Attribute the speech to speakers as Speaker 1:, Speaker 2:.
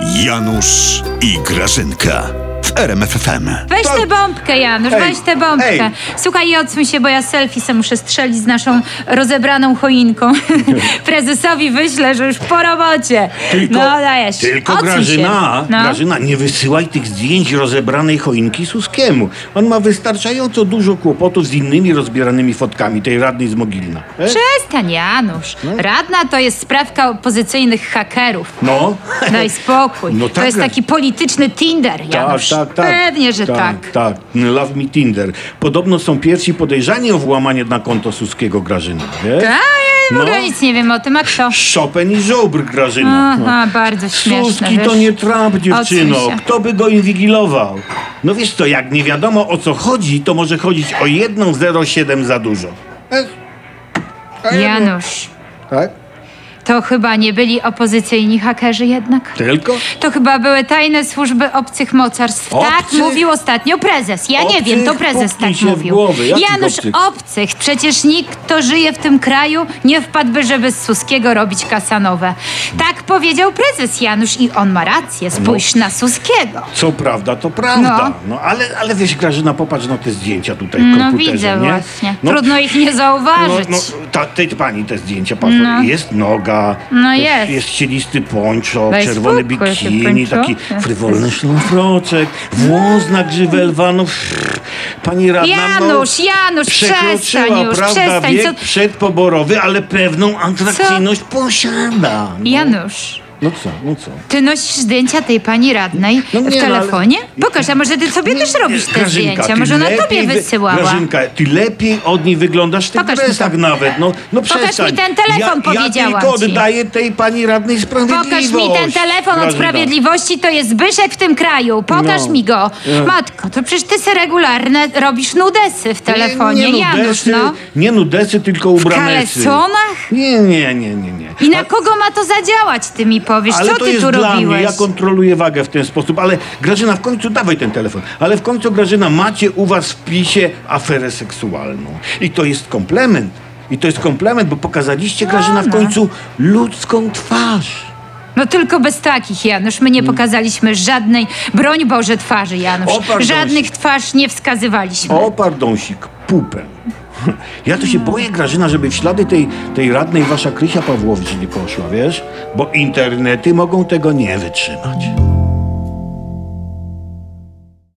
Speaker 1: Janusz i Grażynka w RMFFM.
Speaker 2: Weź
Speaker 3: To-
Speaker 2: tę bombkę, Janusz,
Speaker 3: Ej,
Speaker 2: weź tę bombkę.
Speaker 3: ej.
Speaker 2: Słuchaj i odsuń się, bo ja selfie se muszę strzelić z naszą rozebraną choinką. Prezesowi wyślę, że już po robocie. no dajesz.
Speaker 3: Tylko
Speaker 2: Odsuń
Speaker 3: Grażyna,
Speaker 2: się. No.
Speaker 3: Grażyna, nie wysyłaj tych zdjęć rozebranej choinki Suskiemu. On ma wystarczająco dużo kłopotów z innymi rozbieranymi fotkami tej radnej z Mogilna. E?
Speaker 2: Przestań, Janusz. Radna to jest sprawka opozycyjnych hakerów.
Speaker 3: No.
Speaker 2: Daj spokój.
Speaker 3: No
Speaker 2: to
Speaker 3: tak,
Speaker 2: jest
Speaker 3: Graż-
Speaker 2: taki polityczny Tinder, Janusz. Pewnie, że tak.
Speaker 3: Tak, love me Tinder. Podobno są pierwsi podejrzani o włamanie na konto Suskiego Grażyna. Wiesz?
Speaker 2: A ja w ogóle
Speaker 3: No.
Speaker 2: nic nie wiem o tym, a kto?
Speaker 3: Chopin i Żobr Grażyna. No.
Speaker 2: Aha, bardzo śmieszne,
Speaker 3: Suski to
Speaker 2: wiesz.
Speaker 3: nie Trump, dziewczyno.
Speaker 2: Odsuń się.
Speaker 3: Kto by go inwigilował? No wiesz co, jak nie wiadomo o co chodzi, to może chodzić o 1,07 za dużo. Ech,
Speaker 2: Janusz,
Speaker 3: tak?
Speaker 2: to chyba nie byli opozycyjni hakerzy jednak.
Speaker 3: Tylko?
Speaker 2: To chyba były tajne służby obcych mocarstw. Tak
Speaker 3: Obcych?
Speaker 2: mówił ostatnio prezes. Ja nie
Speaker 3: Obcych?
Speaker 2: wiem, to prezes
Speaker 3: Puknij
Speaker 2: tak
Speaker 3: się w
Speaker 2: mówił.
Speaker 3: głowę. Jakich
Speaker 2: Janusz
Speaker 3: obcych?
Speaker 2: obcych. Przecież nikt, kto żyje w tym kraju, nie wpadłby, żeby z Suskiego robić kasanowe. Tak powiedział prezes Janusz i on ma rację.
Speaker 3: No.
Speaker 2: Spójrz na Suskiego.
Speaker 3: Co prawda, to prawda. No, ale, ale wiesz, Grażyna, popatrz na te zdjęcia tutaj w
Speaker 2: No
Speaker 3: komputerze,
Speaker 2: widzę
Speaker 3: nie?
Speaker 2: właśnie.
Speaker 3: No,
Speaker 2: Trudno ich nie
Speaker 3: No,
Speaker 2: zauważyć.
Speaker 3: no, ta, tej pani te zdjęcia, patrz, jest noga,
Speaker 2: No jest.
Speaker 3: jest, jest cielisty pończo,
Speaker 2: Daj
Speaker 3: czerwone
Speaker 2: spokój, jakie
Speaker 3: bikini,
Speaker 2: pończo.
Speaker 3: taki frywolny szlafroczek, włos na grzywe lwa, no pff, pani radna,
Speaker 2: Janusz,
Speaker 3: no,
Speaker 2: Janusz, przestań
Speaker 3: przekroczyła,
Speaker 2: już,
Speaker 3: prawda,
Speaker 2: przestań.
Speaker 3: wiek
Speaker 2: Co...
Speaker 3: przedpoborowy, ale pewną atrakcyjność posiada. No,
Speaker 2: Janusz,
Speaker 3: no co, no co?
Speaker 2: ty nosisz zdjęcia tej pani radnej
Speaker 3: No nie,
Speaker 2: w
Speaker 3: no, ale-
Speaker 2: telefonie? Pokaż, a może ty sobie też robisz te
Speaker 3: Grażynka,
Speaker 2: zdjęcia?
Speaker 3: ty
Speaker 2: Może ona tobie
Speaker 3: lepiej wy-
Speaker 2: wysyłała?
Speaker 3: Grażynka, ty lepiej od niej wyglądasz w tych
Speaker 2: Pokaż mi
Speaker 3: dresach
Speaker 2: to.
Speaker 3: nawet. No, no
Speaker 2: Pokaż mi
Speaker 3: przestań.
Speaker 2: ten telefon,
Speaker 3: ja, ja
Speaker 2: powiedziałam
Speaker 3: tylko
Speaker 2: ci.
Speaker 3: oddaję tej pani radnej sprawiedliwość.
Speaker 2: Pokaż mi ten telefon od
Speaker 3: Grażynka.
Speaker 2: sprawiedliwości, to jest Zbyszek w tym kraju. Pokaż
Speaker 3: No.
Speaker 2: mi go. Matko, to przecież ty se regularne robisz nudesy w telefonie.
Speaker 3: Nie, nie
Speaker 2: Janusz,
Speaker 3: nudesy,
Speaker 2: no.
Speaker 3: nie nudesy, tylko ubranecy.
Speaker 2: kalesonach?
Speaker 3: Nie, nie, nie, nie, nie.
Speaker 2: I na kogo ma to zadziałać, ty mi powiesz?
Speaker 3: Ale
Speaker 2: Co
Speaker 3: to
Speaker 2: ty
Speaker 3: jest
Speaker 2: tu
Speaker 3: dla
Speaker 2: robiłeś?
Speaker 3: mnie, ja kontroluję wagę w ten sposób, ale Grażyna, w końcu dawaj ten telefon. Ale w końcu, Grażyna, macie u was w PiSie aferę seksualną. I to jest komplement. I to jest komplement, bo pokazaliście, Grażyna, w
Speaker 2: no.
Speaker 3: końcu ludzką twarz.
Speaker 2: No tylko bez takich, Janusz. My nie pokazaliśmy żadnej, broń Boże, twarzy, Janusz.
Speaker 3: Hmm. O, pardon.
Speaker 2: Żadnych twarz nie wskazywaliśmy.
Speaker 3: O, pardonsik, pupę. Ja
Speaker 2: No.
Speaker 3: to się boję, Grażyna, żeby w ślady tej, tej radnej wasza Krysia Pawłowicz nie poszła, wiesz? Bo internety mogą tego nie wytrzymać.